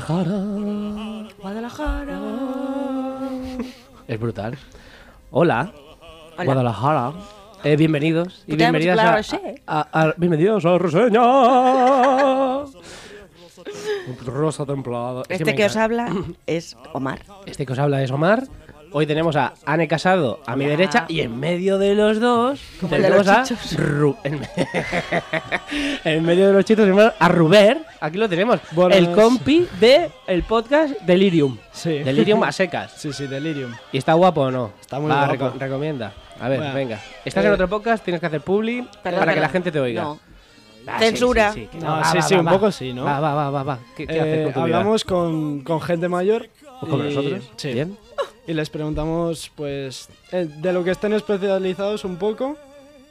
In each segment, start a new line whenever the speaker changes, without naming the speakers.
Guadalajara.
Guadalajara.
Es brutal. Hola.
Hola.
Guadalajara. Eh, bienvenidos y
Tú te llamas
bienvenidas
Clara
a-
Rocher.
a, a- Bienvenidos a Reseña. Rosa templada. Es
Este
me
que os
encanta.
habla es Omar.
este que os habla es Omar. Hoy tenemos a Ane Casado a mi
Hola.
derecha y en medio de los dos
Como el de
tenemos
los
a
chichos.
Ru- en, me- en medio de los chichos tenemos a Ruber. Aquí lo tenemos,
Buenas.
el compi de el podcast Delirium.
Sí.
Delirium a secas.
Sí, sí, Delirium.
¿Y está guapo o no?
Está muy
Va,
guapo.
reco- recomienda. A ver,
Bueno.
venga. Estás
Eh,
en otro podcast, tienes que hacer publi para que la gente te oiga.
No.
Ah,
Censura.
que
No, sí, sí, un poco sí, ¿no?
Va, va, va, va. va. ¿Qué, qué
Eh,
haces con tu vida?
hablamos con, con gente mayor.
Pues como
y-
nosotros.
Sí.
Bien.
Y les preguntamos, pues, eh, de lo que estén especializados un poco.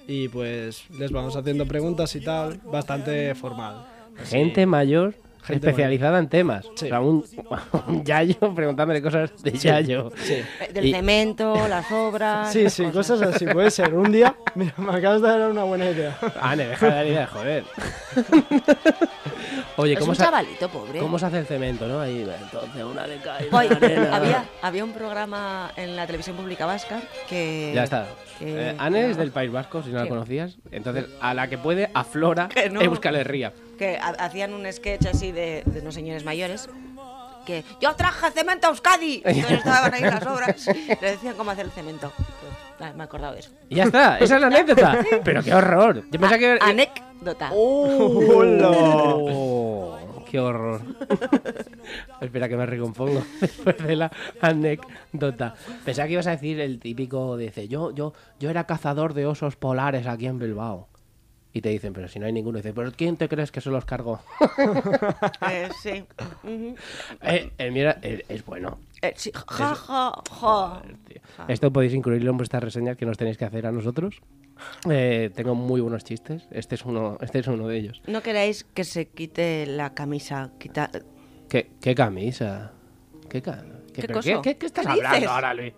Y pues les vamos haciendo preguntas y tal. Bastante formal. Así.
Gente mayor
Gente
especializada en temas.
Sí.
O sea, un, un yayo preguntándole cosas de yayo.
Sí.
Eh, Del
Y-
cemento, las obras.
Sí, sí, cosas así. Puede ser. Un día. Mira, me acabas de dar una buena idea.
Ane, Ah, deja de dar ideas, joder. Oye,
Es
¿cómo
un ¿eh?
se,
chavalito, pobre.
¿cómo se hace el cemento, no? Ahí, entonces, una de cal y una
Hoy
de arena.
había, había un programa en la televisión pública vasca que.
Ya está.
que-
Eh, Anne
que-
es del País Vasco, si no la
Sí.
conocías. Entonces, a la que puede, aflora
Que no.
Euskal Herria.
Que ha- hacían un sketch así de, de unos señores mayores. Que yo traje cemento a Euskadi. Entonces estaban ahí las obras. Le decían cómo hacer el cemento. Pues, ah, me he acordado de eso.
Y ya está, esa es la anécdota. Pero qué horror. Yo pensaba Pues que.
A- Anécdota.
Uh.
¡Hola!
Oh, ¡Qué horror! Espera que me recompongo después de la anécdota. Pensaba que ibas a decir el típico, dice, yo, yo, yo era cazador de osos polares aquí en Bilbao. Y te dicen, pero si no hay ninguno, dice, pero ¿quién te crees que se los cargó?
Eh, sí. Ujú.
Eh, eh, mira, eh, es bueno.
Eh, sí. Ja, ja, ja.
Tío.
Ah.
Esto podéis incluirlo en vuestras reseñas que nos tenéis que hacer a nosotros. Eh, tengo muy buenos chistes. Este es uno, este es uno de ellos.
No queréis que se quite la camisa. Quita...
¿Qué, qué camisa? ¿Qué, ca-
¿Qué
pero
coso?
qué- qué estás
¿Qué
hablando
dices?
ahora, Luis?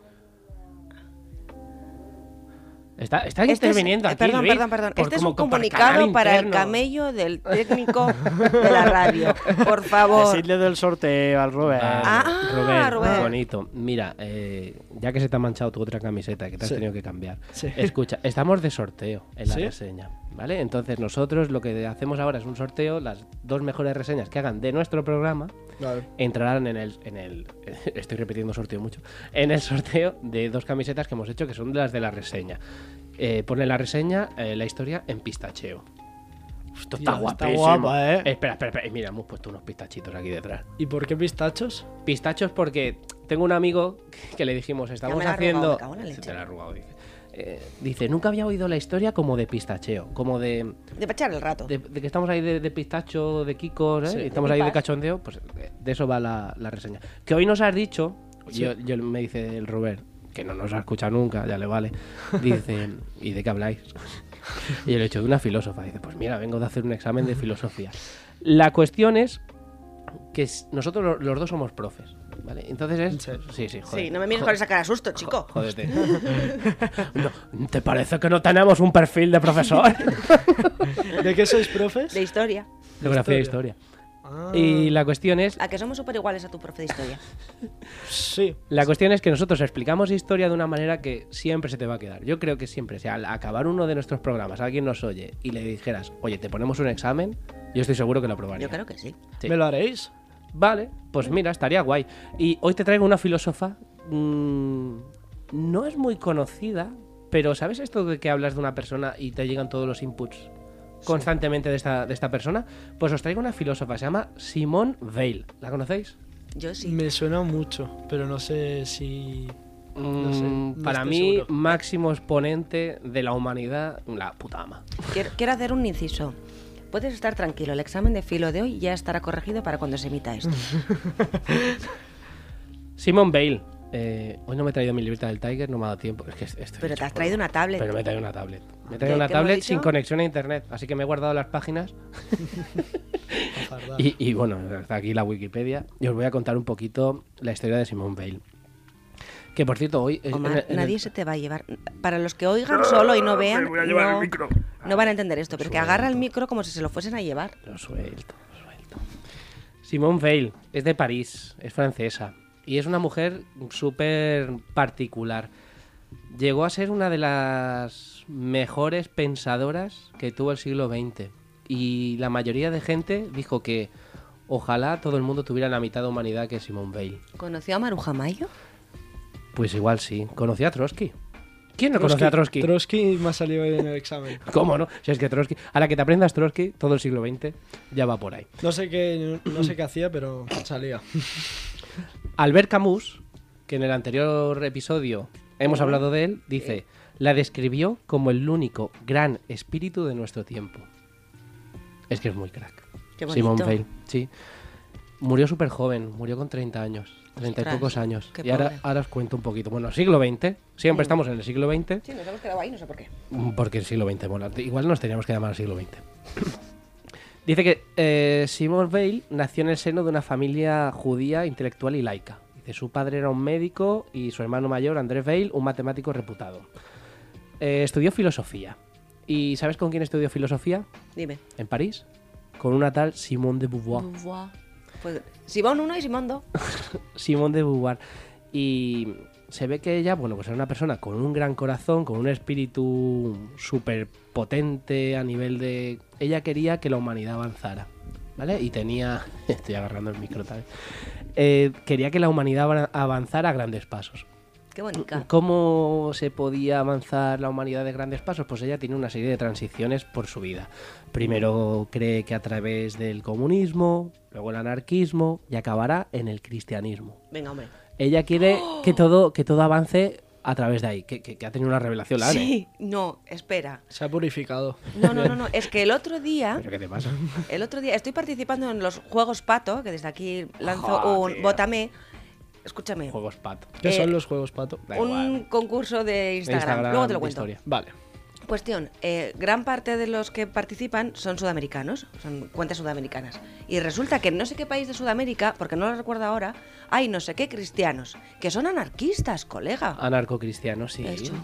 Está, está
Este es-
interviniendo
eh,
aquí,
perdón,
Luis,
perdón, perdón.
por
Este es
como-
un
como
comunicado
canal
para el
interno.
camello del técnico de la radio. Por favor.
Decidle del sorteo al Robert.
Vale,
Ah,
Rubén,
Rubén.
bonito. Mira, eh, ya que se te ha manchado tu otra camiseta que te has
Sí.
tenido que cambiar.
Sí.
Escucha, estamos de sorteo en la
¿Sí?
reseña, ¿vale? Entonces nosotros lo que hacemos ahora es un sorteo, las dos mejores reseñas que hagan de nuestro programa
Vale.
entrarán en el, en el estoy repitiendo sorteo mucho, en el sorteo de dos camisetas que hemos hecho que son las de la reseña. Eh, pone la reseña, eh, la historia en pistacheo. Esto está
Tío, está
guapísimo.
guapa, ¿eh?
Espera, espera, espera. Mira, hemos puesto unos pistachitos aquí detrás.
¿Y por qué pistachos?
Pistachos porque tengo un amigo que le dijimos, estamos
me la ha arrugado,
haciendo...
me cago en la
Se
leche.
te la ha arrugado, dice. Eh, dice, nunca había oído la historia como de pistacheo, como de,
De pachar el rato.
de, de que estamos ahí de, de pistacho, de kikos, ¿eh?
Sí.
Y estamos ahí de
Pipas.
cachondeo, pues eh, de eso va la, la reseña. Que hoy nos has dicho, yo, yo- me dice el Robert, que no nos ha escuchado nunca, ya le vale, dice, ¿y de qué habláis? Y yo le he hecho de una filósofa, dice, pues mira, vengo de hacer un examen de filosofía. La cuestión es que s- nosotros lo- los dos somos profes, ¿vale? Entonces es...
Sí.
Sí, sí, joder.
Sí, no me mires con esa cara de susto, chico.
Jódete. No, ¿Te parece que no tenemos un perfil de profesor?
¿De qué sois profes? Ah,
De historia.
Geografía e historia. Y la cuestión es
A que somos súper iguales a tu profe de historia.
Sí.
La cuestión es que nosotros explicamos historia de una manera que siempre se te va a quedar. Yo creo que siempre, si al acabar uno de nuestros programas alguien nos oye y le dijeras, oye, te ponemos un examen, yo estoy seguro que lo aprobaría.
Yo creo que sí.
Sí.
¿Me lo haréis?
Vale, pues mira, estaría guay. Y hoy te traigo una filósofa. mm, no es muy conocida, pero ¿sabes esto de que hablas de una persona y te llegan todos los inputs constantemente de, esta, de esta persona? Pues os traigo una filósofa, se llama Simone Weil. ¿La conocéis?
Yo sí.
Me suena mucho, pero no sé si. No sé,
Mm,
no
para
estoy
mí,
seguro.
máximo exponente de la humanidad, la puta ama.
Quiero, quiero hacer un inciso. Puedes estar tranquilo, el examen de filo de hoy ya estará corregido para cuando se emita esto.
Simon Bale. Eh, hoy no me he traído mi libreta del Tiger, no me ha dado tiempo. Es que es- estoy
Pero
hecho
te has
polvo.
traído una tablet.
Pero me he traído una tablet. Me he
¿Qué-
traído una
qué hemos
tablet
dicho?
sin conexión a internet, así que me he guardado las páginas. y, y, bueno, está aquí la Wikipedia. Y os voy a contar un poquito la historia de Simone Bale. Que por cierto, hoy. eh, en
Omar,
el- en el-
nadie se te va a llevar. Para los que oigan solo y no vean, no, no van a entender esto, pero es que agarra el micro como si se lo fuesen a llevar.
Lo suelto, lo suelto. Simone Veil es de París, es francesa y es una mujer súper particular. Llegó a ser una de las mejores pensadoras que tuvo el siglo XX y la mayoría de gente dijo que ojalá todo el mundo tuviera la mitad de humanidad que Simone Veil.
¿Conoció a Maruja Mayo?
Pues igual sí, conocí a Trotsky. ¿Quién no conoce a Trotsky?
Trotsky me ha salido en el examen.
¿Cómo no? Si es que Trotsky, a la que te aprendas Trotsky, todo el siglo XX ya va por ahí.
No sé qué, no sé qué hacía, pero salía.
Albert Camus, que en el anterior episodio hemos hablado de él, dice, la describió como el único gran espíritu de nuestro tiempo. Es que es muy crack.
Qué
Simón
bonito.
Veil, sí. Murió súper joven, murió con 30 años, 30
Ostras,
y pocos años.
qué
Y ahora,
pobre.
ahora os cuento un poquito. Bueno, siglo XX, siempre estamos en el siglo XX,
Sí, nos hemos quedado ahí, no sé por qué.
porque el siglo XX mola. Igual nos teníamos que llamar al siglo XX. Dice que eh, Simone Weil nació en el seno de una familia judía, intelectual y laica. Dice, su padre era un médico y su hermano mayor, Andrés Weil, un matemático reputado. Eh, estudió filosofía. ¿Y sabes con quién estudió filosofía?
Dime.
En París. Con una tal Simone de Beauvoir.
Pues, Simón 1 y Simón 2.
Simone de Beauvoir. Y se ve que ella, bueno, pues era una persona con un gran corazón, con un espíritu súper potente a nivel de... Ella quería que la humanidad avanzara, ¿vale? Y tenía... Estoy agarrando el micro también. Eh, quería que la humanidad avan- avanzara a grandes pasos.
Qué bonita.
¿Cómo se podía avanzar la humanidad de grandes pasos? Pues ella tiene una serie de transiciones por su vida. Primero cree que a través del comunismo, luego el anarquismo y acabará en el cristianismo.
Venga, hombre.
Ella quiere que todo, que todo avance a través de ahí, que, que- que ha tenido una revelación la Ane.
Sí, no, espera.
Se ha purificado.
No, no, no, no. Es que el otro día,
¿Pero qué te pasa?
el otro día, estoy participando en los Juegos Pato, que desde aquí lanzo un bótame. Escúchame.
Juegos pato.
¿Qué
Eh,
son los juegos, pato?
Da
un
igual.
concurso de Instagram. Luego te
de
lo cuento.
historia.
Vale.
Cuestión, eh, gran parte de los que participan son sudamericanos, son cuentas sudamericanas. Y resulta que en no sé qué país de Sudamérica, porque no lo recuerdo ahora, hay no sé qué cristianos, que son anarquistas, colega.
Anarcocristiano, Ah, sí.
Eso, algo de eso.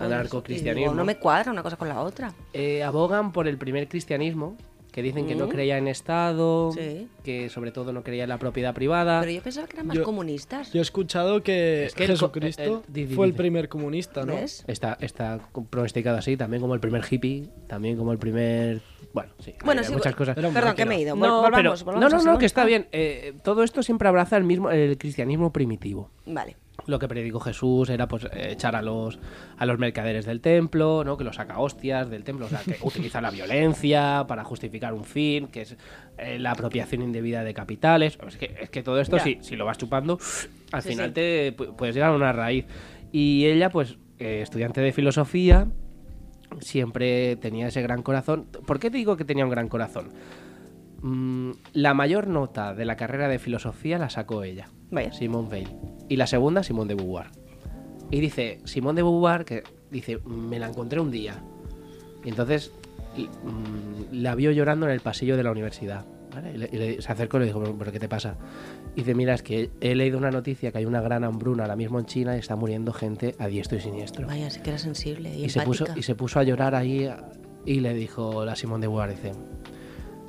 Y
Anarcocristianismo.
digo, No me cuadra una cosa con la otra.
Eh, abogan por el primer cristianismo, que dicen que no creía en Estado,
Mm. Sí.
que sobre todo no creía en la propiedad privada.
Pero yo pensaba que eran más
Yo-
comunistas.
Yo he escuchado que,
Es que el co-
Jesucristo
el- el-
fue el
dice.
primer comunista, ¿no?
¿Ves?
Está, está pronosticado así, también como el primer hippie, también como el primer... Bueno, sí.
Bueno,
hay
sí,
muchas
bu-
cosas.
Era un
Perdón, que me he ido. Vol- volvamos,
pero-
volvamos
no,
a Ah.
no, no, que está
Simón.
bien. Eh, todo esto siempre abraza el mismo el cristianismo primitivo.
Vale.
Lo que predicó Jesús era pues eh, echar a los a los mercaderes del templo, ¿no? Que los saca hostias del templo, o sea, que utiliza la violencia para justificar un fin, que es eh, la apropiación indebida de capitales. Pues Es que, es que todo esto,
Ya.
si, si lo vas chupando, al
Sí,
final
sí.
te pu- puedes llegar a una raíz. Y ella, pues, eh, estudiante de filosofía, siempre tenía ese gran corazón. ¿Por qué te digo que tenía un gran corazón? Mm, la mayor nota de la carrera de filosofía la sacó ella,
Vaya.
Simone Veil. Y la segunda, Simone de Beauvoir. Y dice, Simone de Beauvoir, que dice, me la encontré un día. Y entonces y, mm, la vio llorando en el pasillo de la universidad. ¿vale? Y, le- y le- se acercó y le dijo, "¿Pero- ¿pero qué te pasa? Y dice, mira, es que he leído una noticia que hay una gran hambruna ahora mismo en China y está muriendo gente a diestro y siniestro
Vaya, sí que era sensible y,
y se, puso, y se puso a llorar ahí y le dijo la Simón de Beauvoir, dice,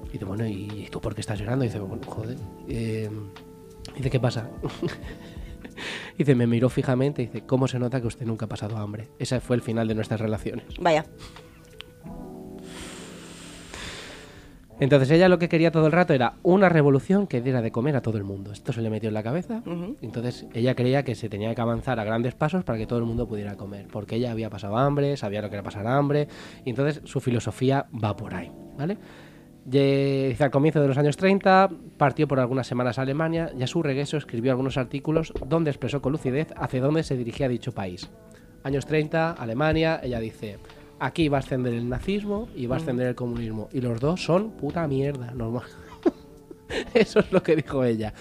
y dice, bueno, ¿y tú por qué estás llorando? Y dice, bueno, joder. eh, dice, ¿qué pasa? dice, me miró fijamente y dice, ¿cómo se nota que usted nunca ha pasado hambre? Ese fue el final de nuestras relaciones.
Vaya.
Entonces ella lo que quería todo el rato era una revolución que diera de comer a todo el mundo. Esto se le metió en la cabeza.
Ujú.
Entonces ella creía que se tenía que avanzar a grandes pasos para que todo el mundo pudiera comer. Porque ella había pasado hambre, sabía lo que era pasar hambre. Y entonces su filosofía va por ahí. ¿Vale? Ye- dice, al comienzo de los años 30 partió por algunas semanas a Alemania y a su regreso escribió algunos artículos donde expresó con lucidez hacia dónde se dirigía dicho país. Años 30, Alemania, ella dice, Aquí va a ascender el nazismo y va a ascender el comunismo. Y los dos son puta mierda, normal. Eso es lo que dijo ella.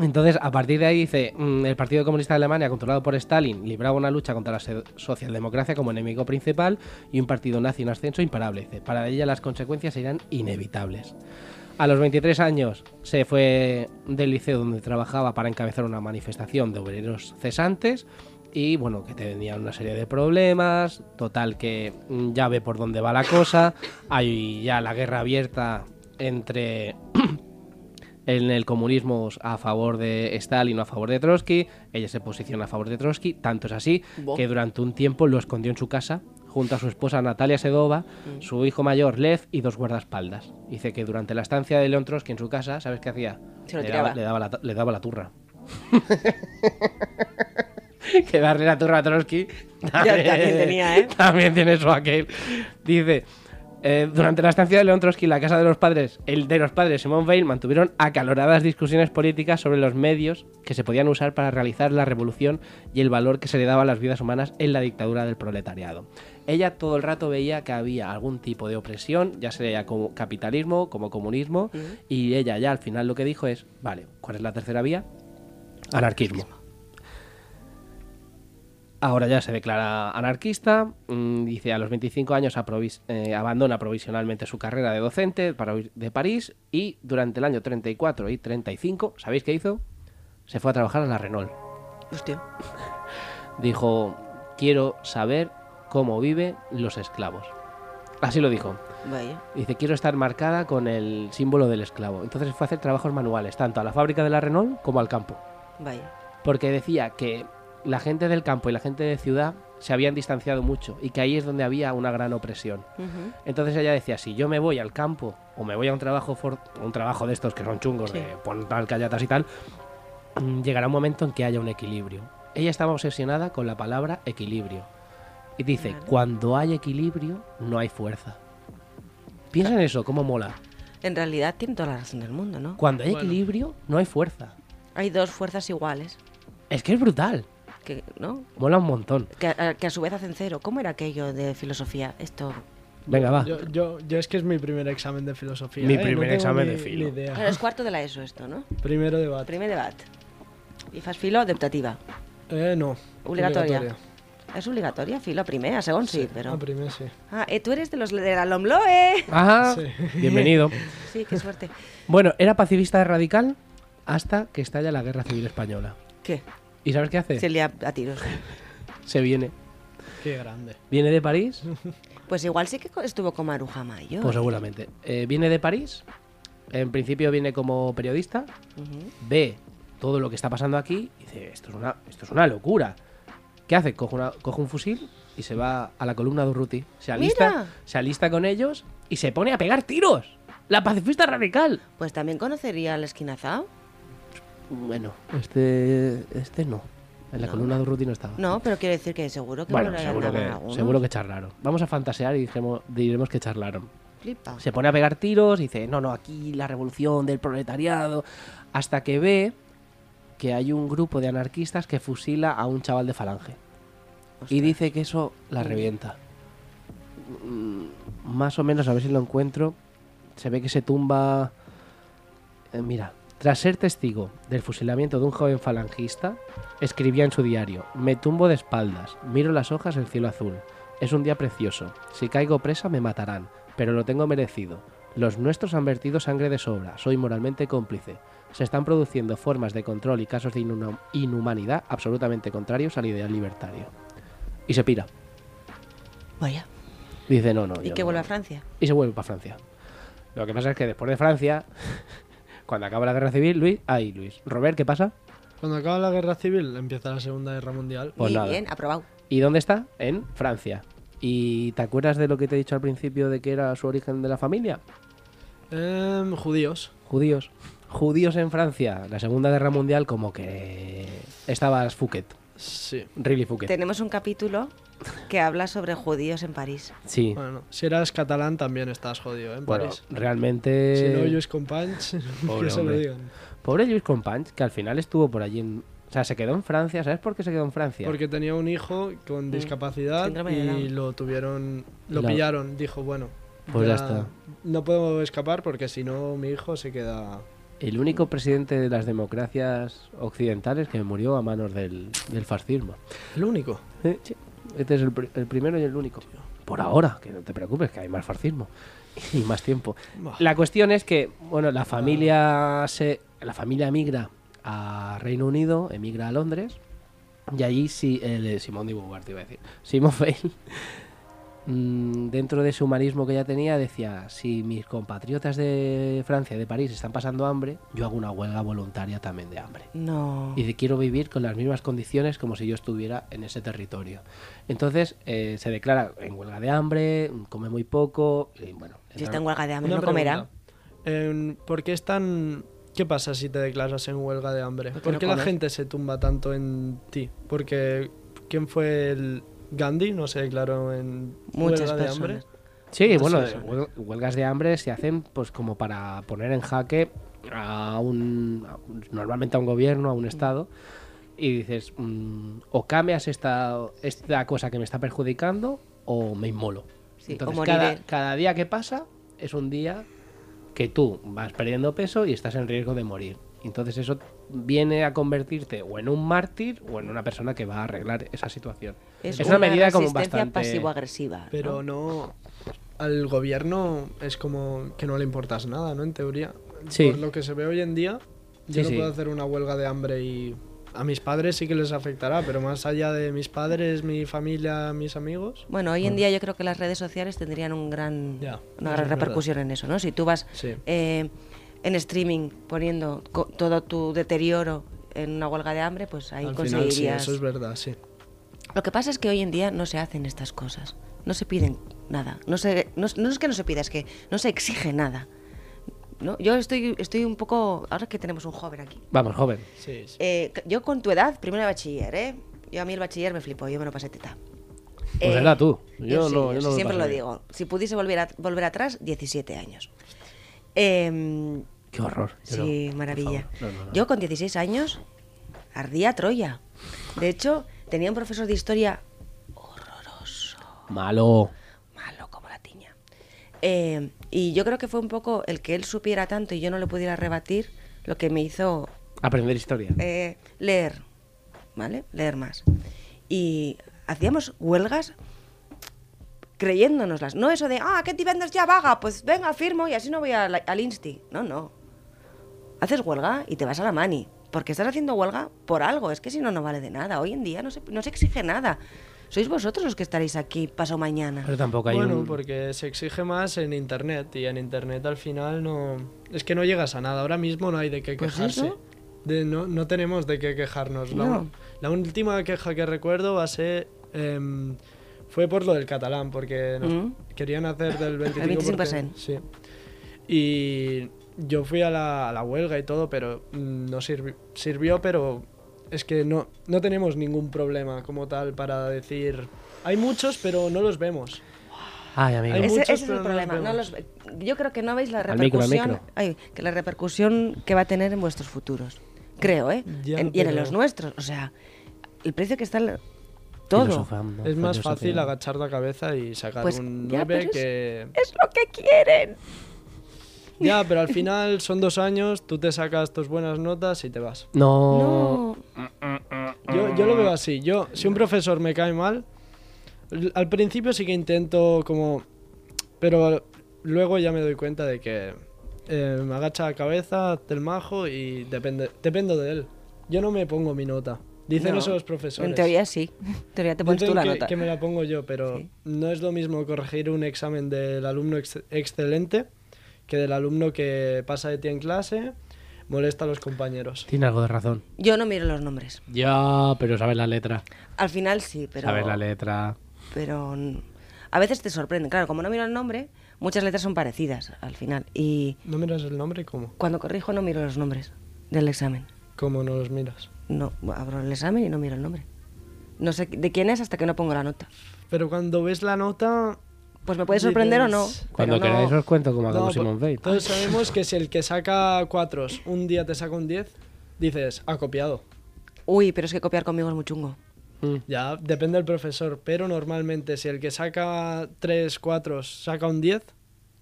Entonces, a partir de ahí dice, mm, el Partido Comunista de Alemania, controlado por Stalin, libraba una lucha contra la se- socialdemocracia como enemigo principal y un partido nazi en ascenso imparable. Dice, para ella las consecuencias eran inevitables. A los 23 años se fue del liceo donde trabajaba para encabezar una manifestación de obreros cesantes y bueno, que tenían una serie de problemas, total que mm, ya ve por dónde va la cosa, hay ya la guerra abierta entre en el comunismo a favor de Stalin o a favor de Trotsky. Ella se posiciona a favor de Trotsky. Tanto es así
Bo.
que durante un tiempo lo escondió en su casa junto a su esposa Natalia Sedova,
Mm.
su hijo mayor Lev y dos guardaespaldas. Dice que durante la estancia de León Trotsky en su casa, ¿sabes qué hacía?
Se lo
le, daba,
tiraba.
le daba la, le daba la turra. que darle la turra a Trotsky
también tenía, ¿eh?
también tiene su aquel. Dice, eh, durante la estancia de León Trotsky, en la casa de los padres, el de los padres Simón Weil mantuvieron acaloradas discusiones políticas sobre los medios que se podían usar para realizar la revolución y el valor que se le daba a las vidas humanas en la dictadura del proletariado. Ella todo el rato veía que había algún tipo de opresión, ya sea como capitalismo, como comunismo, y ella ya al final lo que dijo es, vale, ¿cuál es la tercera vía? Anarquismo. Ahora ya se declara anarquista, mm, dice a los 25 años aprovis- eh, abandona provisionalmente su carrera de docente para huir de París y durante el año 34 y 35, ¿sabéis qué hizo? Se fue a trabajar a la Renault.
Hostia.
Dijo, quiero saber cómo viven los esclavos. Así lo dijo.
Vaya.
Dice, quiero estar marcada con el símbolo del esclavo. Entonces se fue a hacer trabajos manuales, tanto a la fábrica de la Renault como al campo
Vaya.
porque decía que la gente del campo y la gente de ciudad se habían distanciado mucho y que ahí es donde había una gran opresión.
Ujú.
Entonces ella decía, si yo me voy al campo o me voy a un trabajo for- un trabajo de estos que son chungos,
Sí.
de tal callatas y tal, mm, llegará un momento en que haya un equilibrio. Ella estaba obsesionada con la palabra equilibrio. Y dice,
Vale.
cuando hay equilibrio, no hay fuerza. Piensa en eso, cómo mola.
En realidad tiene toda la razón del mundo, ¿no?
Cuando hay
Bueno.
equilibrio, no hay fuerza.
Hay dos fuerzas iguales,
Es que es brutal.
que, ¿no?
Mola un montón.
Que a, que a su vez hacen cero. ¿Cómo era aquello de filosofía? Esto.
Venga, va.
Yo, yo, yo es que es mi primer examen de filosofía.
Mi
¿eh? No
primer
tengo
examen
ni-
de filo.
ni idea.
Claro, Ah, es cuarto de la ESO esto, ¿no?
Primero debate.
Primer debate. Y fas filo optativa.
Eh, no.
Obligatoria. Es obligatoria, filo primer, a segon sí,
Pero...
pero...
primer sí.
Ah, eh, tú eres de los de la Lomloe.
Ajá.
Sí.
Bienvenido.
Sí, qué suerte.
Bueno, era pacifista radical hasta que estalla la Guerra Civil Española.
¿Qué?
¿Y sabes qué hace?
Se lía a tiros.
Se viene.
Qué grande.
¿Viene de París?
Pues igual sí que co- estuvo con Maruja Mayo.
Pues seguramente. Eh, viene de París. En principio viene como periodista.
Ujú.
Ve todo lo que está pasando aquí. Y dice, esto es una, esto es una locura. ¿Qué hace? Coge, una- coge un fusil y se va a la columna de Urruti. Se alista,
Mira.
se alista con ellos y se pone a pegar tiros. La pacifista radical.
Pues también conocería al esquinazao.
Bueno, este, este no. En la columna de Urruti no estaba.
No, pero quiero decir que seguro que
Bueno,
no
seguro que, seguro que charlaron. Vamos a fantasear y diremos, diremos que charlaron.
Flipa.
Se pone a pegar tiros, dice, no, no, aquí la revolución del proletariado, hasta que ve que hay un grupo de anarquistas que fusila a un chaval de falange. Y dice que eso la revienta. Mm, Más o menos, a ver si lo encuentro. Se ve que se tumba... Eh, mira, tras ser testigo del fusilamiento de un joven falangista, escribía en su diario, me tumbo de espaldas, miro las hojas del cielo azul. Es un día precioso. Si caigo presa me matarán, pero lo tengo merecido. Los nuestros han vertido sangre de sobra, soy moralmente cómplice. Se están produciendo formas de control y casos de inhuma- inhumanidad absolutamente contrarios al ideal libertario. Y se pira.
Vaya.
Dice, no, no.
¿Y
yo
que
no".
vuelve a Francia?
Y se vuelve para Francia. Lo que pasa es que después de Francia, cuando acaba la guerra civil, Luis... Ay, Luis. Robert, ¿qué pasa?
Cuando acaba la guerra civil, empieza la Segunda Guerra Mundial.
Pues
Muy
nada.
bien, aprobado.
¿Y dónde está? En Francia. ¿Y te acuerdas de lo que te he dicho al principio de que era su origen de la familia?
Em, judíos.
Judíos. Judíos en Francia. La Segunda Guerra Mundial como que estabas Fouquet.
Sí.
Really Fouquet.
Tenemos un capítulo que habla sobre judíos en París.
Sí.
Bueno, si eras catalán también estás jodido, ¿eh? En
Bueno,
París.
realmente...
Si no, yo es con punch,
Pobre
que se lo
hombre.
digan.
Pobre Luis Companys, que al final estuvo por allí en... O sea, se quedó en Francia. ¿Sabes por qué se quedó en Francia?
Porque tenía un hijo con discapacidad
Mm. Síndrome de
y
Down.
lo tuvieron, lo
La-
pillaron. Dijo, bueno,
Pues ya está.
No puedo escapar porque si no mi hijo se queda.
El único presidente de las democracias occidentales que murió a manos del, del fascismo.
El único.
Eh, sí. Este es el, pri- el primero y el único. Por ahora, que no te preocupes, que hay más fascismo y más tiempo.
Bah.
La cuestión es que, bueno, la familia se, la familia emigra a Reino Unido, emigra a Londres, y allí sí, el eh, Simón de Beauvoir, te iba a decir, Simón Veil, mm, dentro de su humanismo que ya tenía, decía, si mis compatriotas de Francia, de París, están pasando hambre, yo hago una huelga voluntaria también de hambre.
No.
Y de quiero vivir con las mismas condiciones como si yo estuviera en ese territorio. Entonces eh, se declara en huelga de hambre, come muy poco, y bueno.
Si está
entra-
en huelga de hambre,
Una
no comerá.
pregunta. En- ¿Por qué están.? ¿Qué pasa si te declaras en huelga de hambre?
Porque
¿Por
no
qué la
comes.
gente se tumba tanto en ti? Porque. ¿Quién fue el. Gandhi no se declaró en
Muchas
huelga
personas.
de hambre?
Sí,
Entonces,
bueno,
sí, sí.
eh,
huel- huelgas de hambre se hacen pues como para poner en jaque a un, a un- normalmente a un gobierno, a un estado y dices mm, o cambias esta esta cosa que me está perjudicando o me inmolo.
Sí, o
Entonces
moriré.
cada, cada día que pasa es un día que tú vas perdiendo peso y estás en riesgo de morir. Entonces eso viene a convertirte o en un mártir o en una persona que va a arreglar esa situación.
Es,
una, medida como
resistencia
bastante
pasivo-agresiva.
Pero no. Al gobierno es como que no le importas nada, ¿no? En teoría.
Sí.
Por lo que se ve hoy en día, yo
Sí,
no
sí.
puedo hacer una huelga de hambre y. A mis padres sí que les afectará, pero más allá de mis padres, mi familia, mis amigos.
Bueno, hoy en día yo creo que las redes sociales tendrían un gran,
Ya, eso
una
es
gran
verdad.
repercusión en eso, ¿no? Si tú vas
Sí.
eh, en streaming poniendo co- todo tu deterioro en una huelga de hambre, pues ahí
al final,
conseguirías.
sí, eso es verdad, sí.
Lo que pasa es que hoy en día no se hacen estas cosas, no se piden nada, no, se, no, no es que no se pida, es que no se exige nada. ¿no? Yo estoy, estoy un poco, ahora que tenemos un joven aquí,
Vamos, joven.
Sí, sí.
Eh, c- yo con tu edad, primero de bachiller, ¿eh? Yo a mí el bachiller me flipó, yo me lo pasé teta. Eh,
Pues era tú. Yo
sí,
no- yo no me pasé
siempre lo
bien.
digo. Si pudiese volver, a- volver atrás, 17 años. Eh,
Qué horror. Yo no,
sí,
por
maravilla.
favor. No, no, no.
Yo con 16 años ardía Troya. De hecho, tenía un profesor de historia horroroso
Malo.
malo como la tiña. Eh, y yo creo que fue un poco el que él supiera tanto y yo no le pudiera rebatir lo que me hizo
Aprender historia.
eh, leer, ¿vale? Leer más. Y hacíamos huelgas creyéndonoslas. No eso de, ah, que vendes ya vaga, pues venga, firmo y así no voy a la- al Insti. No, no. Haces huelga y te vas a la mani. Porque estás haciendo huelga por algo. Es que si no, no vale de nada. Hoy en día no se, no se exige nada. Sois vosotros los que estaréis aquí pasado mañana.
Pero tampoco hay
Bueno,
un...
porque se exige más en internet y en internet al final no es que no llegas a nada. Ahora mismo no hay de qué
Pues
quejarse.
eso.
De- no, no tenemos de qué quejarnos. La,
No.
la última queja que recuerdo va a ser em, fue por lo del catalán porque nos
Mm.
querían hacer del 25%.
25%.
Sí. Y yo fui a la, a la huelga y todo, pero mm, no sirvi- sirvió, pero es que no, no tenemos ningún problema como tal para decir... Hay muchos, pero no los vemos.
Ay, amigo.
Hay
Ese,
muchos,
ese es el
pero no los
problema. no
vemos.
los- yo creo que no veis la
Al micro, al
repercusión,
micro.
ay, que la repercusión que va a tener en vuestros futuros. Creo, ¿eh?
Ya,
En- y en
pero-
los nuestros. O sea, el precio que está el- todo.
Filosofando,
Es más
filosofía.
fácil agachar la cabeza y sacar
Pues
un
ya,
9
pero es-
que...
Es lo que quieren.
Ya, pero al final son dos años, tú te sacas tus buenas notas y te vas.
No.
No.
Yo, yo lo veo así. Yo, si un profesor me cae mal, l- al principio sí que intento como... Pero luego ya me doy cuenta de que eh, me agacha la cabeza, te el majo y depende, dependo de él. Yo no me pongo mi nota. Dicen
No.
eso los profesores.
En teoría sí. En teoría te pones
Dicen
tú la
que,
nota.
que me la pongo yo, pero
Sí.
no es lo mismo corregir un examen del alumno ex- excelente que del alumno que pasa de ti en clase, molesta a los compañeros.
Tiene algo de razón.
Yo no miro los nombres.
Ya, pero sabes la letra.
Al final sí, pero.
Sabes la letra.
pero n- a veces te sorprende. Claro, como no miro el nombre, muchas letras son parecidas al final. Y
¿No miras el nombre? ¿Cómo?
cuando corrijo no miro los nombres del examen.
¿Cómo no los miras?
No, abro el examen y no miro el nombre. No sé de quién es hasta que no pongo la nota.
Pero cuando ves la nota...
Pues me puede sorprender o no.
Dices-
Cuando
pero no- pues,
queráis os cuento cómo acabó
No,
Simon
por-
Veil.
todos sabemos que si el que saca cuatros un día te saca un 10, dices, ha copiado.
Uy, pero es que copiar conmigo es muy chungo.
Mm.
Ya, depende del profesor, pero normalmente si el que saca 3, 4 saca un 10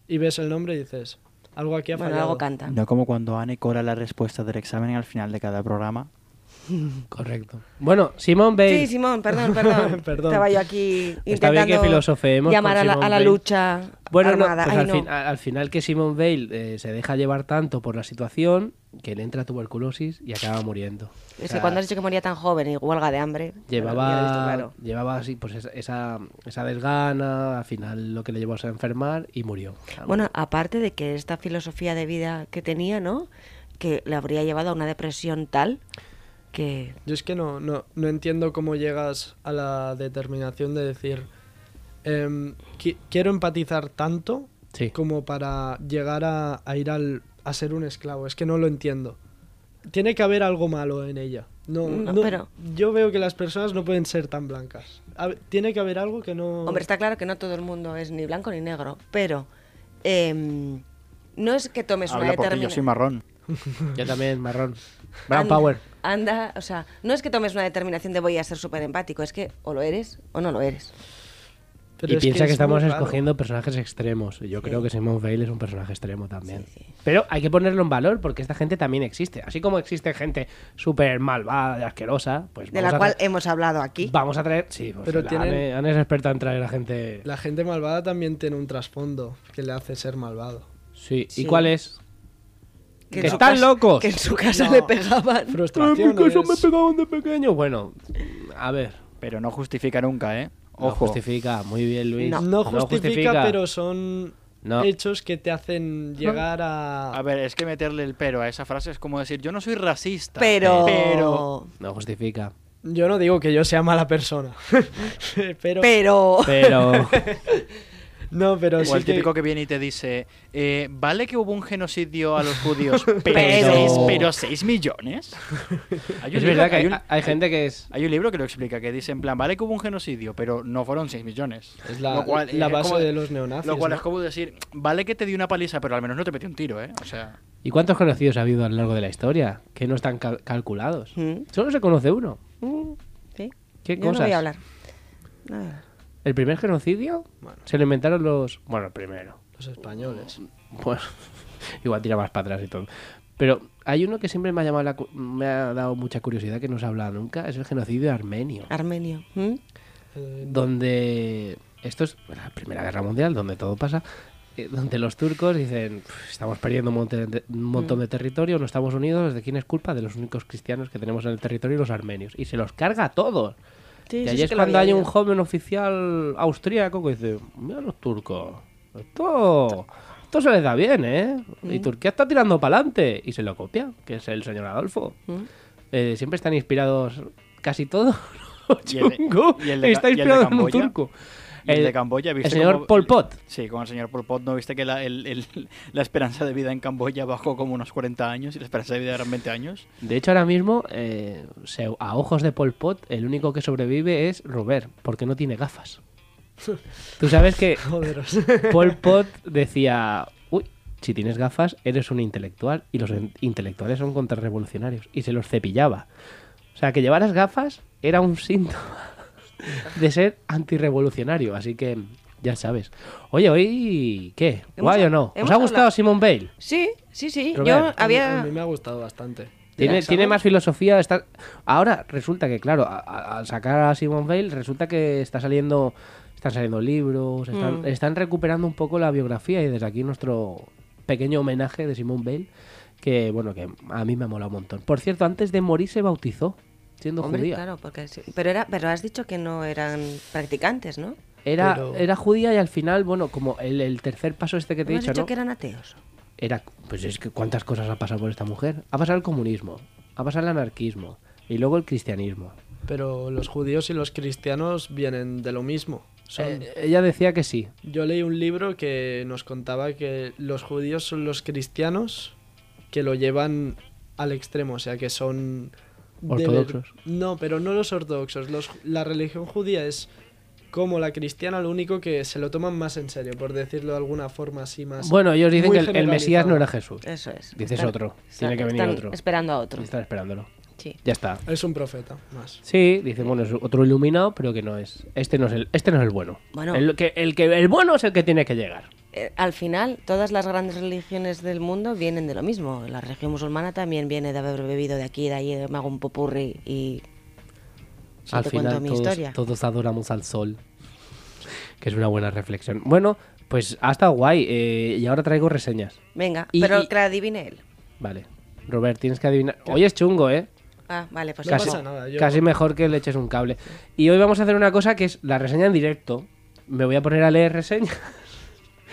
y ves el nombre y dices, algo aquí ha
Bueno,
fallado.
algo canta.
No como cuando Anne cobra la respuesta del examen al final de cada programa.
Correcto. Bueno, Simón Bale.
Sí, Simón, perdón, perdón.
Perdón.
Estaba yo aquí
Está bien que
intentando
filosofeemos
llamar
con
a la,
Simone
a la
Weil.
lucha
bueno, no,
armada.
pues
Ay,
al,
no.
fin- a- al final que Simón Bale eh, se deja llevar tanto por la situación que le entra tuberculosis y acaba muriendo. O
Es que
sea,
cuando has dicho que moría tan joven y huelga de hambre, ya lo he visto
ah. llevaba,
claro.
llevaba así, pues esa, esa, esa desgana, al final lo que le llevó a enfermar y murió.
Bueno, aparte de que esta filosofía de vida que tenía, ¿no? Que le habría llevado a una depresión tal que...
Yo es que no, no, no entiendo cómo llegas a la determinación de decir, em, qui- quiero empatizar tanto
sí.
como para llegar a, a ir al, a ser un esclavo. Es que no lo entiendo. Tiene que haber algo malo en ella. No,
No,
no-
pero-
Yo veo que las personas no pueden ser tan blancas. A ver, tiene que haber algo que no...
Hombre, está claro que no todo el mundo es ni blanco ni negro, pero em, no es que tomes
Habla
Pues una
porque yo soy
determinación...
marrón.
Yo también, marrón. Brown
Anda-
Power.
Anda, o sea, no es que tomes una determinación de voy a ser súper empático, es que o lo eres o no lo eres.
Pero
y
es
piensa que,
es
estamos
muy raro.
escogiendo personajes extremos. Yo creo que Simone Veil es un personaje extremo también.
Sí, sí.
Pero hay que ponerlo en valor porque esta gente también existe. Así como existe gente súper malvada y asquerosa, pues
De
vamos
la
a
cual
tra-
hemos hablado aquí.
vamos a traer. Sí, pues
Pero
la
tienen-
Anne- Anne es experta en traer a gente.
La gente malvada también tiene un trasfondo que le hace ser malvado.
Sí.
Sí.
¿Y cuál es?
Que
Que,
en su
están
cas-
locos.
Que en su casa
No.
le pegaban.
Frustraciones.
eso me pegaban de pequeño. Bueno, a ver.
Pero no justifica nunca, ¿eh?
Ojo.
Ojo.
justifica. Muy bien, Luis.
No.
No justifica, pero son
No.
hechos que te hacen llegar a...
a ver, es que meterle el pero a esa frase es como decir, yo no soy racista.
Pero...
Pero...
No justifica.
Yo no digo que yo sea mala persona. pero...
Pero...
Pero.
No, pero sí
O el
que-
típico que viene y te dice, eh, vale que hubo un genocidio a los judíos,
Pero-
pero, seis- pero 6 millones. Hay un
es
libro-
verdad que hay,
un-
hay gente que es.
Hay un libro que lo explica, que dice en plan, vale que hubo un genocidio, pero no fueron 6 millones.
Es la,
Lo cual
la
es
base
como-
de los neonazis.
Lo cual
¿no?
es como decir, vale que te di una paliza, pero al menos no te metí un tiro, ¿eh? O sea,
¿Y cuántos conocidos ha habido a lo largo de la historia que no están cal- calculados?
Mm,
Solo se conoce uno.
mm, sí.
¿Qué
Yo
cosas?
No voy a hablar. No voy a hablar.
El primer genocidio se lo inventaron los. Bueno, el primero.
Los
Mm.
españoles.
Bueno, igual tira más para atrás y todo. Pero hay uno que siempre me ha, llamado la cu- me ha dado mucha curiosidad que no se ha hablado nunca. Es el genocidio armenio.
Armenio. ¿Mm?
Eh,
donde esto es la Primera Guerra Mundial, donde todo pasa, eh, donde los turcos dicen, "Pf, estamos perdiendo un montón, de, un montón
Mm.
de territorio, no estamos unidos, ¿de quién es culpa? De los únicos cristianos que tenemos en el territorio, los armenios. Y se los carga a todos.
Sí,
y
sí,
ahí
sí
es
que lo
cuando
había
hay un
leído.
joven oficial austríaco que dice, mira los turcos, esto, esto se les da bien, ¿eh? Y Turquía está tirando para adelante. Y se lo copia, que es el señor Adolfo.
Mm.
Eh, siempre están inspirados casi todos.
¿Y el de-
chungo,
y el de
está
Ca- y el de
inspirado en un
Camboya?
turco.
y el, de Camboya,
El
¿viste
señor
cómo-
Pol Pot.
Sí, con el señor Pol Pot, ¿no viste que la, el- el- la esperanza de vida en Camboya bajó como unos 40 años y la esperanza de vida eran 20 años?
De hecho, ahora mismo, eh, se- a ojos de Pol Pot, el único que sobrevive es Robert, porque no tiene gafas. Tú sabes que
joderos.
Pol Pot decía, uy, si tienes gafas, eres un intelectual, y los en- intelectuales son contrarrevolucionarios, y se los cepillaba. O sea, que llevaras gafas era un síntoma de ser antirrevolucionario, así que ya sabes. Oye, hoy, ¿qué?
Hemos
¿Guay
ha-
o no? ¿Os
hemos
ha gustado
hablado-
Simon Bale?
Sí, sí, sí. Yo
Robert,
A
había...
mí me ha gustado bastante.
Tiene,
¿Sabes?
tiene más filosofía. Está... Ahora resulta que, claro, a- a- al sacar a Simone Bale, resulta que está saliendo, están saliendo libros, están,
Mm.
están recuperando un poco la biografía y desde aquí nuestro pequeño homenaje de Simone Bale, que bueno, que a mí me ha molado un montón. Por cierto, antes de morir se bautizó, siendo
Hombre,
judía.
claro, porque sí. Pero, era, pero has dicho que no eran practicantes, ¿no?
Era,
Pero-
era judía y al final, bueno, como el, el tercer paso este que
¿No
te he
me has
dicho,
dicho
¿no?
que eran ateos.
era pues es que cuántas cosas ha pasado por esta mujer. Ha pasado el comunismo, ha pasado el anarquismo y luego el cristianismo.
Pero los judíos y los cristianos vienen de lo mismo. Son-
Eh, ella decía que sí.
Yo leí un libro que nos contaba que los judíos son los cristianos que lo llevan al extremo, o sea que son... de ver-
Ortodoxos.
No, pero no los ortodoxos. Los, la religión judía es como la cristiana, lo único que se lo toman más en serio, por decirlo de alguna forma así más...
Bueno, ellos dicen
muy
que el, el Mesías
generalizado.
no era Jesús.
Eso es.
Dices
Están-
otro.
están-
Tiene que venir
están
otro.
esperando a otro.
Están esperándolo.
Sí.
Ya está.
Es un profeta, más.
Sí, dice, bueno, es otro iluminado, pero que no es. Este no es el, este no es el bueno.
Bueno.
El, que, el, que, el bueno es el que tiene que llegar.
Eh, al final, todas las grandes religiones del mundo vienen de lo mismo. La religión musulmana también viene de haber bebido de aquí, de allí, me hago un popurri y. si
al
te
final
cuento mi
todos,
historia.
todos adoramos al sol. Que es una buena reflexión. Bueno, pues ha estado guay. eh, y ahora traigo reseñas.
Venga,
Y-
pero
y-
que la adivine él.
Vale. Robert, tienes que adivinar. Hoy es chungo, ¿eh?
Ah, vale, pues
No
casi,
pasa nada, yo-
casi mejor que le eches un cable. Y hoy vamos a hacer una cosa que es la reseña en directo. Me voy a poner a leer reseñas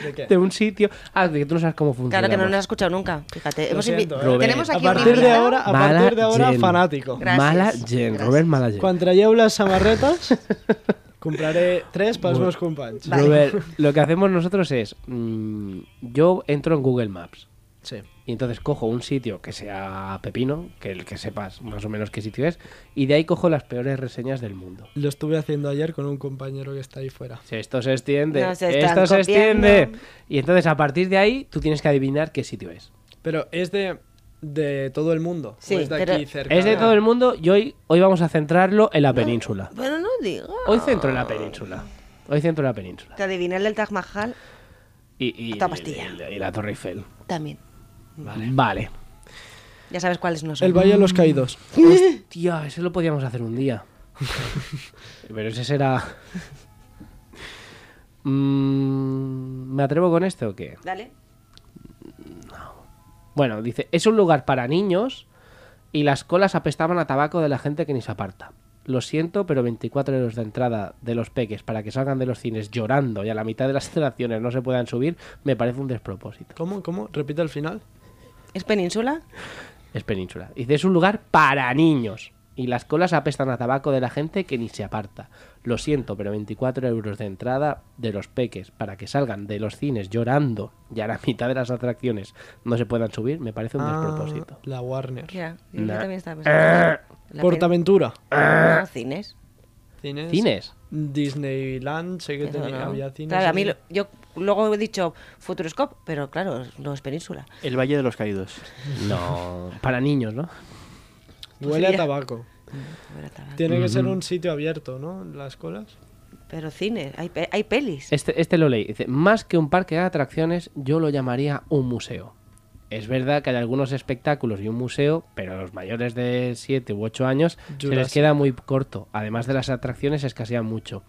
¿De qué?
de un sitio. Ah, de que tú no sabes cómo funciona.
Claro que no nos has escuchado nunca, fíjate.
Lo
Hemos invi-
siento, eh.
Robert,
Tenemos aquí
A partir
un
de
invitado.
ahora, a
Mala
partir de ahora,
Jen.
fanático.
Gracias,
Mala Jen,
gracias.
Robert Mala Jen.
Cuando traieu les samarretes, compraré tres pels meus companys.
Vale.
Robert, lo que hacemos nosotros es. mm, yo entro en Google Maps.
Sí.
Y entonces cojo un sitio que sea Pepino, que el que sepas más o menos qué sitio es, y de ahí cojo las peores reseñas del mundo.
Lo estuve haciendo ayer con un compañero que está ahí fuera.
Si esto se extiende,
Nos están
esto se
copiando.
extiende. Y entonces a partir de ahí tú tienes que adivinar qué sitio es.
Pero es de, de todo el mundo.
Sí,
o es de
pero-
aquí cerca.
Es de todo el mundo y hoy, hoy vamos a centrarlo en la península.
Pero no digo.
Hoy centro en la península. Hoy centro en la península.
Te adiviné el del Taj Mahal
Y, y-
Otra pastilla.
y- y la Torre Eiffel.
también.
Vale. Vale.
Ya sabes cuáles no son.
El Valle de los Caídos.
Tía, ese lo podíamos hacer un día. Pero ese será. Mm, ¿Me atrevo con este o qué?
Dale.
Bueno, dice, es un lugar para niños y las colas apestaban a tabaco de la gente que ni se aparta. Lo siento, pero 24 euros de entrada de los peques para que salgan de los cines llorando y a la mitad de las instalaciones no se puedan subir, me parece un despropósito.
¿Cómo? ¿Cómo? Repite el final.
¿Es península?
Es península. Dice, es un lugar para niños. Y las colas apestan a tabaco de la gente que ni se aparta. Lo siento, pero 24 euros de entrada de los peques para que salgan de los cines llorando y a la mitad de las atracciones no se puedan subir, me parece un
Ah,
despropósito.
la Warner.
Ya, yo
Nah.
también estaba pensando. La
Portaventura.
pen- no, cines.
Cines.
¿Cines?
Disneyland. Sé que
Eso
tenía,
no.
había cines.
Claro, a mí
ahí.
lo- yo luego he dicho Futuroscope, pero claro, no es península.
El Valle de los Caídos.
No. Para niños, ¿no?
Huele a
pues Sería-
tabaco.
Bueno, está bien.
Tiene que ser un sitio abierto, ¿no? Las colas.
Pero cines, hay, pe- hay pelis.
Este, este lo leí. Dice, más que un parque de atracciones, yo lo llamaría un museo. Es verdad que hay algunos espectáculos y un museo, pero a los mayores de 7 u 8 años se les
Jurassic.
queda muy corto. Además de las atracciones, escasean mucho.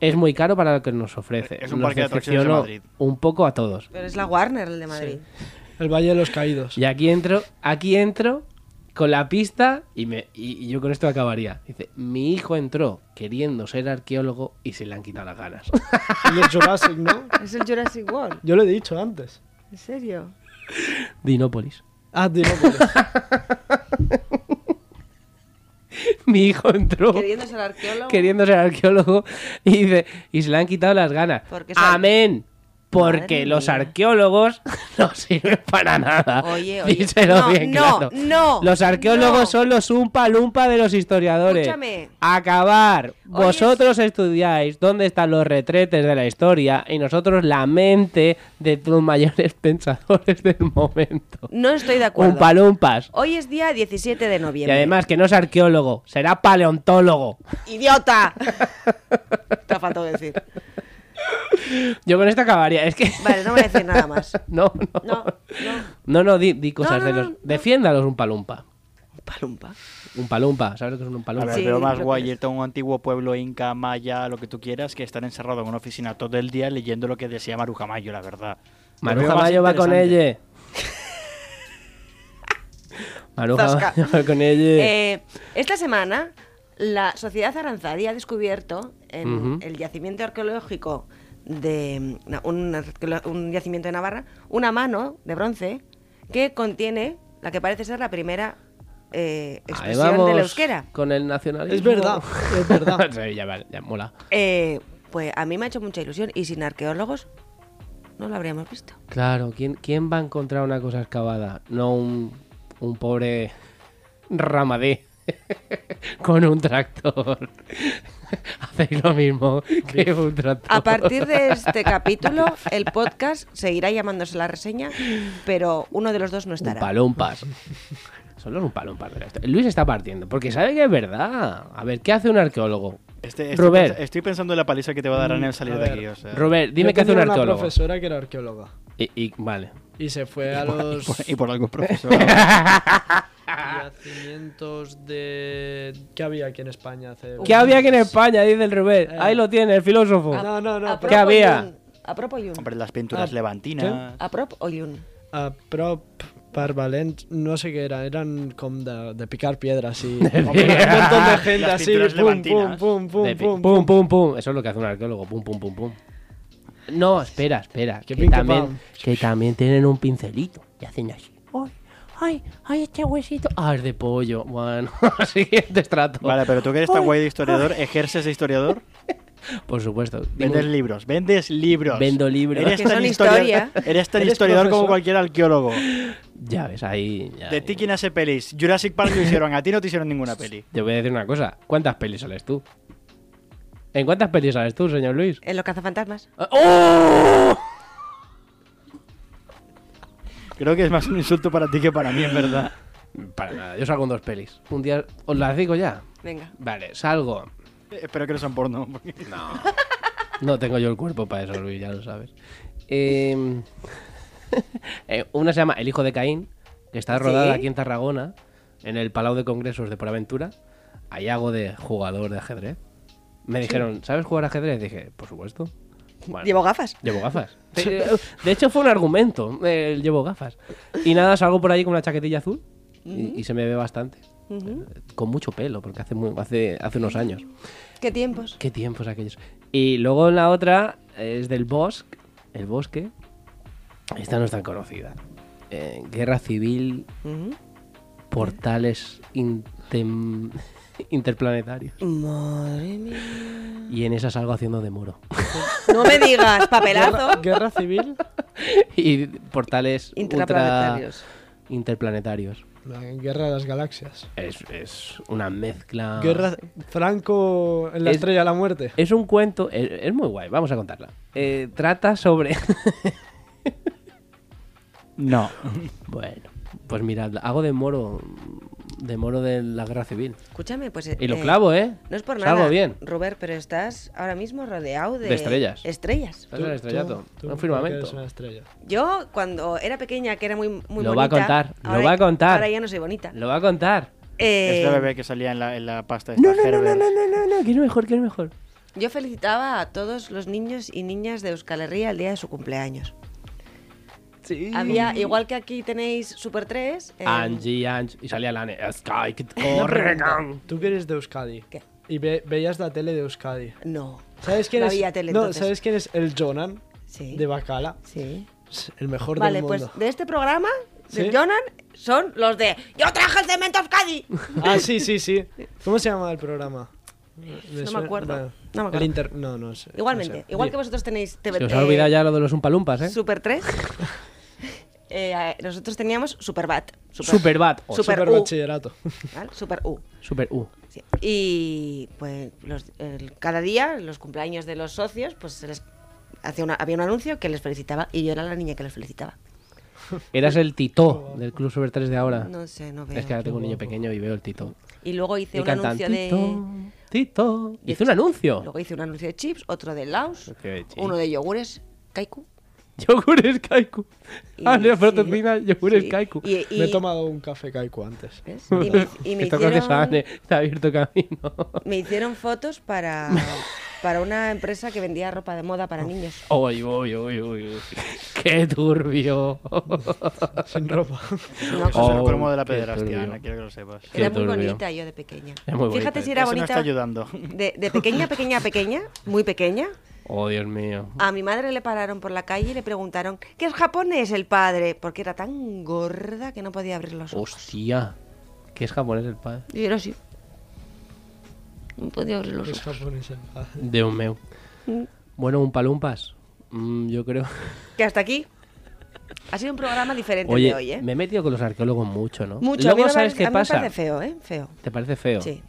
Es muy caro para lo que nos ofrece.
Es un
Nos
parque de atracciones de
decepcionó
Madrid.
Un poco a todos.
Pero es la Warner, el de Madrid.
El Valle de los Caídos.
Y aquí entro, aquí entro con la pista y, me, y, y yo con esto acabaría. Dice, mi hijo entró queriendo ser arqueólogo y se le han quitado las ganas.
Y el Jurassic, ¿no?
Es el Jurassic World,
Yo lo he dicho antes.
¿en serio?
Dinópolis.
Ah, Dinópolis.
mi hijo entró
Queriendo ser arqueólogo.
queriendo ser arqueólogo y, dice, y se le han quitado las ganas.
Porque son-
Amén. Porque
Madre
los
mía.
arqueólogos no sirven para nada.
Oye, oye,
Díselo
no,
bien
no,
claro.
no,
los arqueólogos
no.
son los umpa lumpa de los historiadores.
Escúchame.
Acabar.
Hoy
Vosotros estudiáis dónde están los retretes de la historia y nosotros la mente de los mayores pensadores del momento.
No estoy de acuerdo.
Umpa lumpas.
Hoy es día 17 de
Y
noviembre.
además que no es arqueólogo, será paleontólogo.
¡Idiota! Te ha faltado decir.
Yo con esto acabaría. Es que.
Vale, no voy a decir nada más.
No,
No,
no.
no.
No, no, di, di cosas
No, no,
de
no,
los.
no.
Defiéndalos un palumpa.
Palumpa.
Un palumpa, ¿sabes lo que es un
A
palumpa?
ver,
Sí,
pero más
creo que
guay
es.
irte a un antiguo pueblo inca, maya, lo que tú quieras, que están encerrados en una oficina todo el día leyendo lo que decía Maruja Mayo, la verdad. Lo
Maruja
veo más
Mayo va con
interesante.
ella. Maruja
Zasca.
Mayo va con ella.
Eh, esta semana, la Sociedad Aranzadi ha descubierto en
Ujú.
el yacimiento arqueológico de no, un, arqueolo- un yacimiento de Navarra una mano de bronce que contiene la que parece ser la primera eh,
Ahí
expresión
vamos
de la euskera.
Con el nacionalismo.
Es verdad, es verdad.
Sí, ya, vale, ya mola.
Eh, pues a mí me ha hecho mucha ilusión y sin arqueólogos no lo habríamos visto.
Claro, ¿quién, ¿quién va a encontrar una cosa excavada? No un, un pobre ramadé con un tractor. Hacéis lo mismo que un tractor.
A partir de este capítulo, el podcast seguirá llamándose la reseña, pero uno de los dos no
Un
estará.
palumpas. Solo un palo, un palo. era esto. Luis está partiendo, porque sabe que es verdad. A ver, ¿qué hace un arqueólogo?
Este,
Robert.
Robert. Estoy pensando en la paliza que te va a dar Ana al salir
a
de
ver,
aquí. O sea.
Robert,
Yo
dime qué hace un
tenía una
arqueólogo.
profesora que era arqueóloga.
Y, y- vale.
Y se fue a
Y por-
los
Y por algo, profesor.
yacimientos de... ¿Qué había aquí en España hace...
¿Qué había aquí en España? Dice el Robert. Ahí lo tiene, el filósofo.
Eh. No, no, no.
Apropo
¿Qué había?
Yun, Apropo Yun.
Hombre, las pinturas
Ah,
levantinas.
Apropo o Yun.
A Ah, prop, parvalent, no sé qué era, eran com de, de picar piedras y...
Hombre,
un montón de gente
las
así,
pinturas
pum, pum,
levantinas.
pum,
De
pum,
pi-
pum,
pum, pum, pum. Eso es lo que hace un arqueólogo. Pum, pum, pum, pum. No, espera, espera. Que,
Que pim, que pam.
también, que también tienen un pincelito y hacen así. ¡Ay! ¡Ay! ¡Ay, este huesito! ¡Ah, es de pollo! Bueno, siguiente estrato.
Vale, pero tú que eres tan
Ay,
guay de historiador, ¿ejerces de historiador?
Por supuesto. Dime-
Vendes libros, vendes libros.
Vendo libros.
Eres
Que
tan,
son
historia-
historia.
eres tan
Eres
historiador como
profesor.
cualquier arqueólogo.
Ya ves, ahí. ya-
De ti, ¿quién hace pelis? Jurassic Park lo hicieron, a ti no te hicieron ninguna peli.
Te voy a decir una cosa. ¿Cuántas pelis sales tú? ¿En cuántas pelis sales tú, señor Luis?
En los cazafantasmas.
Ah, ¡Oh!
Creo que es más un insulto para ti que para mí, en verdad.
Para nada, yo salgo en dos pelis. Un día os las digo ya.
Venga.
Vale, salgo.
Eh, Espero que no sean porno. porque-
No tengo yo el cuerpo para eso, Luis, ya lo sabes. Eh, eh, una se llama El hijo de Caín, que está rodada
Sí.
aquí en Tarragona, en el Palau de Congresos de Aventura. Ahí hago de jugador de ajedrez. Me dijeron, ¿sabes jugar ajedrez? Dije, por supuesto. Bueno,
Llevo gafas.
llevo gafas. Eh, De hecho, fue un argumento. eh, llevo gafas. Y nada, salgo por ahí con una chaquetilla azul y, y se me ve bastante.
Ujú.
Con mucho pelo, porque hace, muy- hace, hace unos años.
¿Qué tiempos?
Qué tiempos aquellos. Y luego la otra es del bosque. El bosque. Esta no es tan conocida. Eh, Guerra civil,
Ujú.
portales intem- interplanetarios.
Madre mía.
Y en esa salgo haciendo de muro.
No me digas,
Guerra,
papelazo.
guerra civil.
y portales
Intraplanetarios.
ultra- interplanetarios.
La guerra de las galaxias.
Es, es una mezcla.
Guerra Franco en
Ah.
la
Es-
estrella de la muerte.
Es un cuento, es, es muy guay, vamos a contarla. Eh, trata sobre.
No.
bueno, pues mirad, hago de moro. De moro de la guerra civil.
Escúchame, pues. eh,
Y lo clavo, ¿eh?
No es por nada.
Salgo bien.
Robert, pero estás ahora mismo rodeado de.
De estrellas.
Estrellas.
Estás en el estrellato.
tú,
un
porque eres
firmamento.
una estrella.
Yo, cuando era pequeña, que era muy, muy
Lo va a
bonita,
contar, lo
ahora-
va a contar.
Ahora ya no soy bonita.
Lo va a contar.
Eh,
Es la bebé que salía en la, en la pasta de
No,
esta
no, no, no,
Herbert.
no, no, no, no, que es mejor, que es mejor.
Yo felicitaba a todos los niños y niñas de Euskal Herria el día de su cumpleaños.
Sí.
Había, igual que aquí tenéis Super 3. eh,
Angie, Angie. Y salía Lane. Sky, que
Una
corre.
pregunta. Tú que eres de Euskadi.
¿Qué?
Y ve- veías la tele de Euskadi.
No.
¿Sabes quién
No
es?
había tele,
no,
entonces.
¿sabes quién es? El Jonan
Sí.
de Bacala.
Sí.
Es El mejor
Vale,
del
pues
mundo.
de este programa, de
¿Sí?
Jonan, son los de ¡Yo traje el cemento a Euskadi!
Ah, sí, sí, sí. ¿Cómo se llama el programa?
No me acuerdo. No me acuerdo.
El inter... No, no sé.
Igualmente,
no sé.
igual
Di-
que vosotros tenéis TV,
Se os
eh,
ha olvidado ya lo de los umpalumpas, ¿eh?
Super 3. eh, nosotros teníamos Superbat.
Superbat. o
Super-
Super
U.
bachillerato.
¿vale? Super U.
Super uh. U.
Sí. Y pues los- el- cada día, los cumpleaños de los socios, pues se les hacía una- había un anuncio que les felicitaba y yo era la niña que les felicitaba.
Eras el Tito del Club Super 3 de ahora.
No sé, no veo.
Ah. Es que ahora tengo un niño pequeño y veo el Tito.
Y luego hice
Y
un
cantan
anuncio
Tito,
de.
Tito.
de
Hice un
chi-
anuncio.
Luego hice un anuncio de chips, otro de Laos,
Anuncio de chips.
uno de yogures, Kaiku.
Yogures Kaiku.
y-
Ah, no,
sí,
proteína, yogures
sí.
Kaiku.
Y, y-
Me he tomado un café caico antes.
¿ves? Y me, y me
Esto creo que se
hicieron,
ha- se ha abierto camino.
me hicieron fotos para, para una empresa que vendía ropa de moda
Oh.
para niños.
Uy, uy, uy, uy, uy. Qué turbio.
Sin ropa.
No, pues,
Eso es el
Oh,
cromo de la
qué
pederastia,
turbio.
Ana, quiero que lo sepas.
Qué
Era muy
turbio.
bonita yo de pequeña.
Es muy bonita.
Fíjate si era
Eso no
bonita.
está ayudando.
De, de pequeña, pequeña, pequeña, muy pequeña,
Oh, Dios mío.
a mi madre le pararon por la calle y le preguntaron ¿qué es japonés el padre? Porque era tan gorda que no podía abrir los ojos.
Hostia. ¿Qué es japonés el padre?
Y era así. No podía abrir los
Es
ojos.
japonés. eh. el padre.
De un meu.
Mm.
Bueno, un palumpas. Mm, yo creo.
Que hasta aquí. Ha sido un programa diferente el
Oye,
de hoy, ¿eh?
me he metido con los arqueólogos mucho, ¿no?
Mucho. a mí
Luego,
me
¿sabes
parece-
qué
a mí
pasa?
Me parece feo, ¿eh? Feo.
¿Te parece feo?
Sí.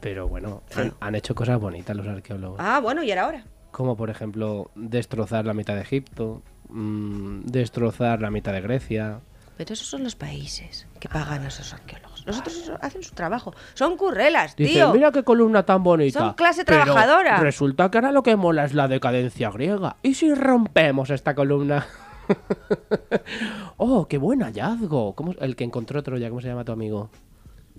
Pero bueno, han, han hecho cosas bonitas los arqueólogos.
Ah, bueno, y era hora.
Como por ejemplo, destrozar la mitad de Egipto, mm, destrozar la mitad de Grecia,
Pero esos son los países que pagan a esos arqueólogos. Los otros so- hacen su trabajo. Son currelas,
Dice,
tío.
mira qué columna tan bonita.
Son clase
pero
trabajadora.
Resulta que ahora lo que mola es la decadencia griega. ¿Y si rompemos esta columna? oh, qué buen hallazgo. ¿Cómo, el que encontró Troya, ¿cómo se llama tu amigo?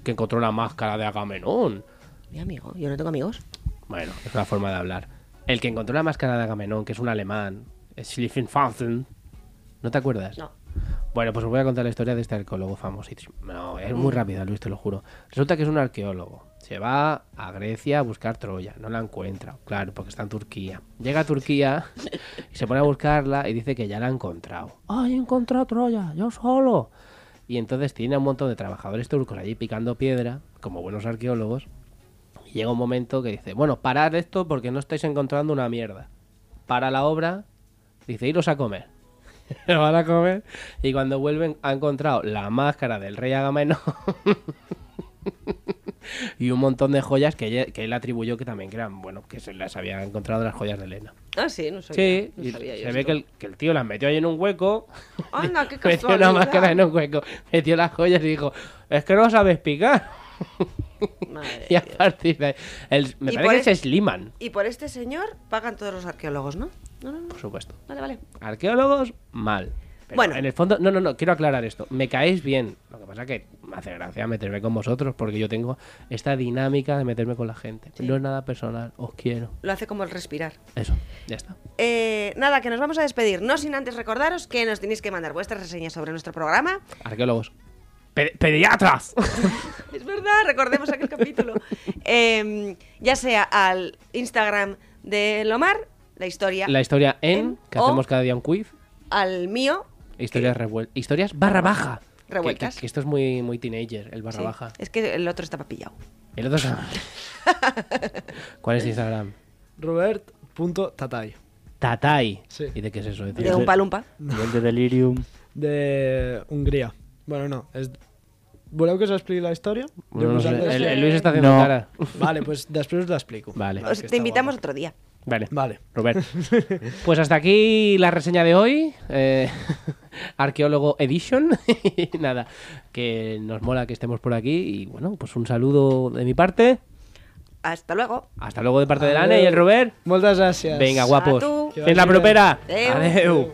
Que encontró la máscara de Agamenón.
Mi amigo, yo no tengo amigos.
Bueno, es una forma de hablar. El que encontró la máscara de Agamenón, que es un alemán, es Schlieffen ¿No te acuerdas?
No.
Bueno, pues os voy a contar la historia de este arqueólogo famosísimo. No, es muy rápida, Luis, te lo juro. Resulta que es un arqueólogo. Se va a Grecia a buscar Troya. No la encuentra, claro, porque está en Turquía. Llega a Turquía y se pone a buscarla y dice que ya la ha encontrado. ¡Ay, he encontrado Troya! ¡Yo solo! Y entonces tiene a un montón de trabajadores turcos allí picando piedra, como buenos arqueólogos. Y llega un momento que dice, bueno, parad esto porque no estáis encontrando una mierda. Para la obra, dice, iros a comer. Van a comer y cuando vuelven ha encontrado la máscara del rey Agamenón y un montón de joyas que, ella- que él atribuyó que también que eran, bueno, que se las había encontrado las joyas de Elena.
Ah, sí, no sabía.
Sí,
no
y
sabía yo
se ve
esto.
que el, que el tío las metió ahí en un hueco,
Anda, qué
metió una
casualidad.
máscara en un hueco, metió las joyas y dijo, es que no sabes picar.
Madre
Y a
de Dios.
partir de ahí, el- me
Y
parece
por e-
que es
el-
Sliman,
Y por este señor pagan todos los arqueólogos, ¿no? No, no, no.
por supuesto.
Vale, vale.
Arqueólogos, mal. Pero
Bueno.
en el fondo, no, no, no, quiero aclarar esto. Me caéis bien. Lo que pasa que me hace gracia meterme con vosotros porque yo tengo esta dinámica de meterme con la gente. No es nada personal, os quiero.
Lo hace como el respirar.
Eso, ya está.
Eh, nada, que nos vamos a despedir. No sin antes recordaros que nos tenéis que mandar vuestras reseñas sobre nuestro programa.
Arqueólogos. Pe- ¡Pediatras!
Es verdad, recordemos aquel capítulo. Eh, ya sea al Instagram de Lomar, la historia,
la historia en,
En,
que
o-
hacemos cada día un quiz.
al mío.
Historias revueltas. Historias barra baja. Que-
Revueltas.
Que, que esto es muy, muy teenager, el barra
Sí,
baja.
Es que el otro estaba pillado.
El otro es- ¿Cuál es Instagram?
Robert.tatay.
Tatai.
Sí.
¿Y de qué es eso?
De un palumpa.
Y el de Delirium.
De Hungría. Bueno, no. Es... Voleu que us expliqui la història?
Bueno, no sé,
Vosaltres-
el, el Luis está haciendo
No.
cara.
Vale, pues després us l'explico.
Vale.
Os
que
te
está
invitamos
guapa.
otro día.
Vale.
Vale.
Robert. Pues hasta aquí la reseña de hoy. eh, Arqueólogo Edition. Y Nada, que nos mola que estemos por aquí. Y bueno, pues un saludo de mi parte.
Hasta luego.
Hasta luego de parte de Lane y el Robert.
Moltes gràcies.
Venga, guapos.
Adeu.
En la propera.
Adeu.
Adeu.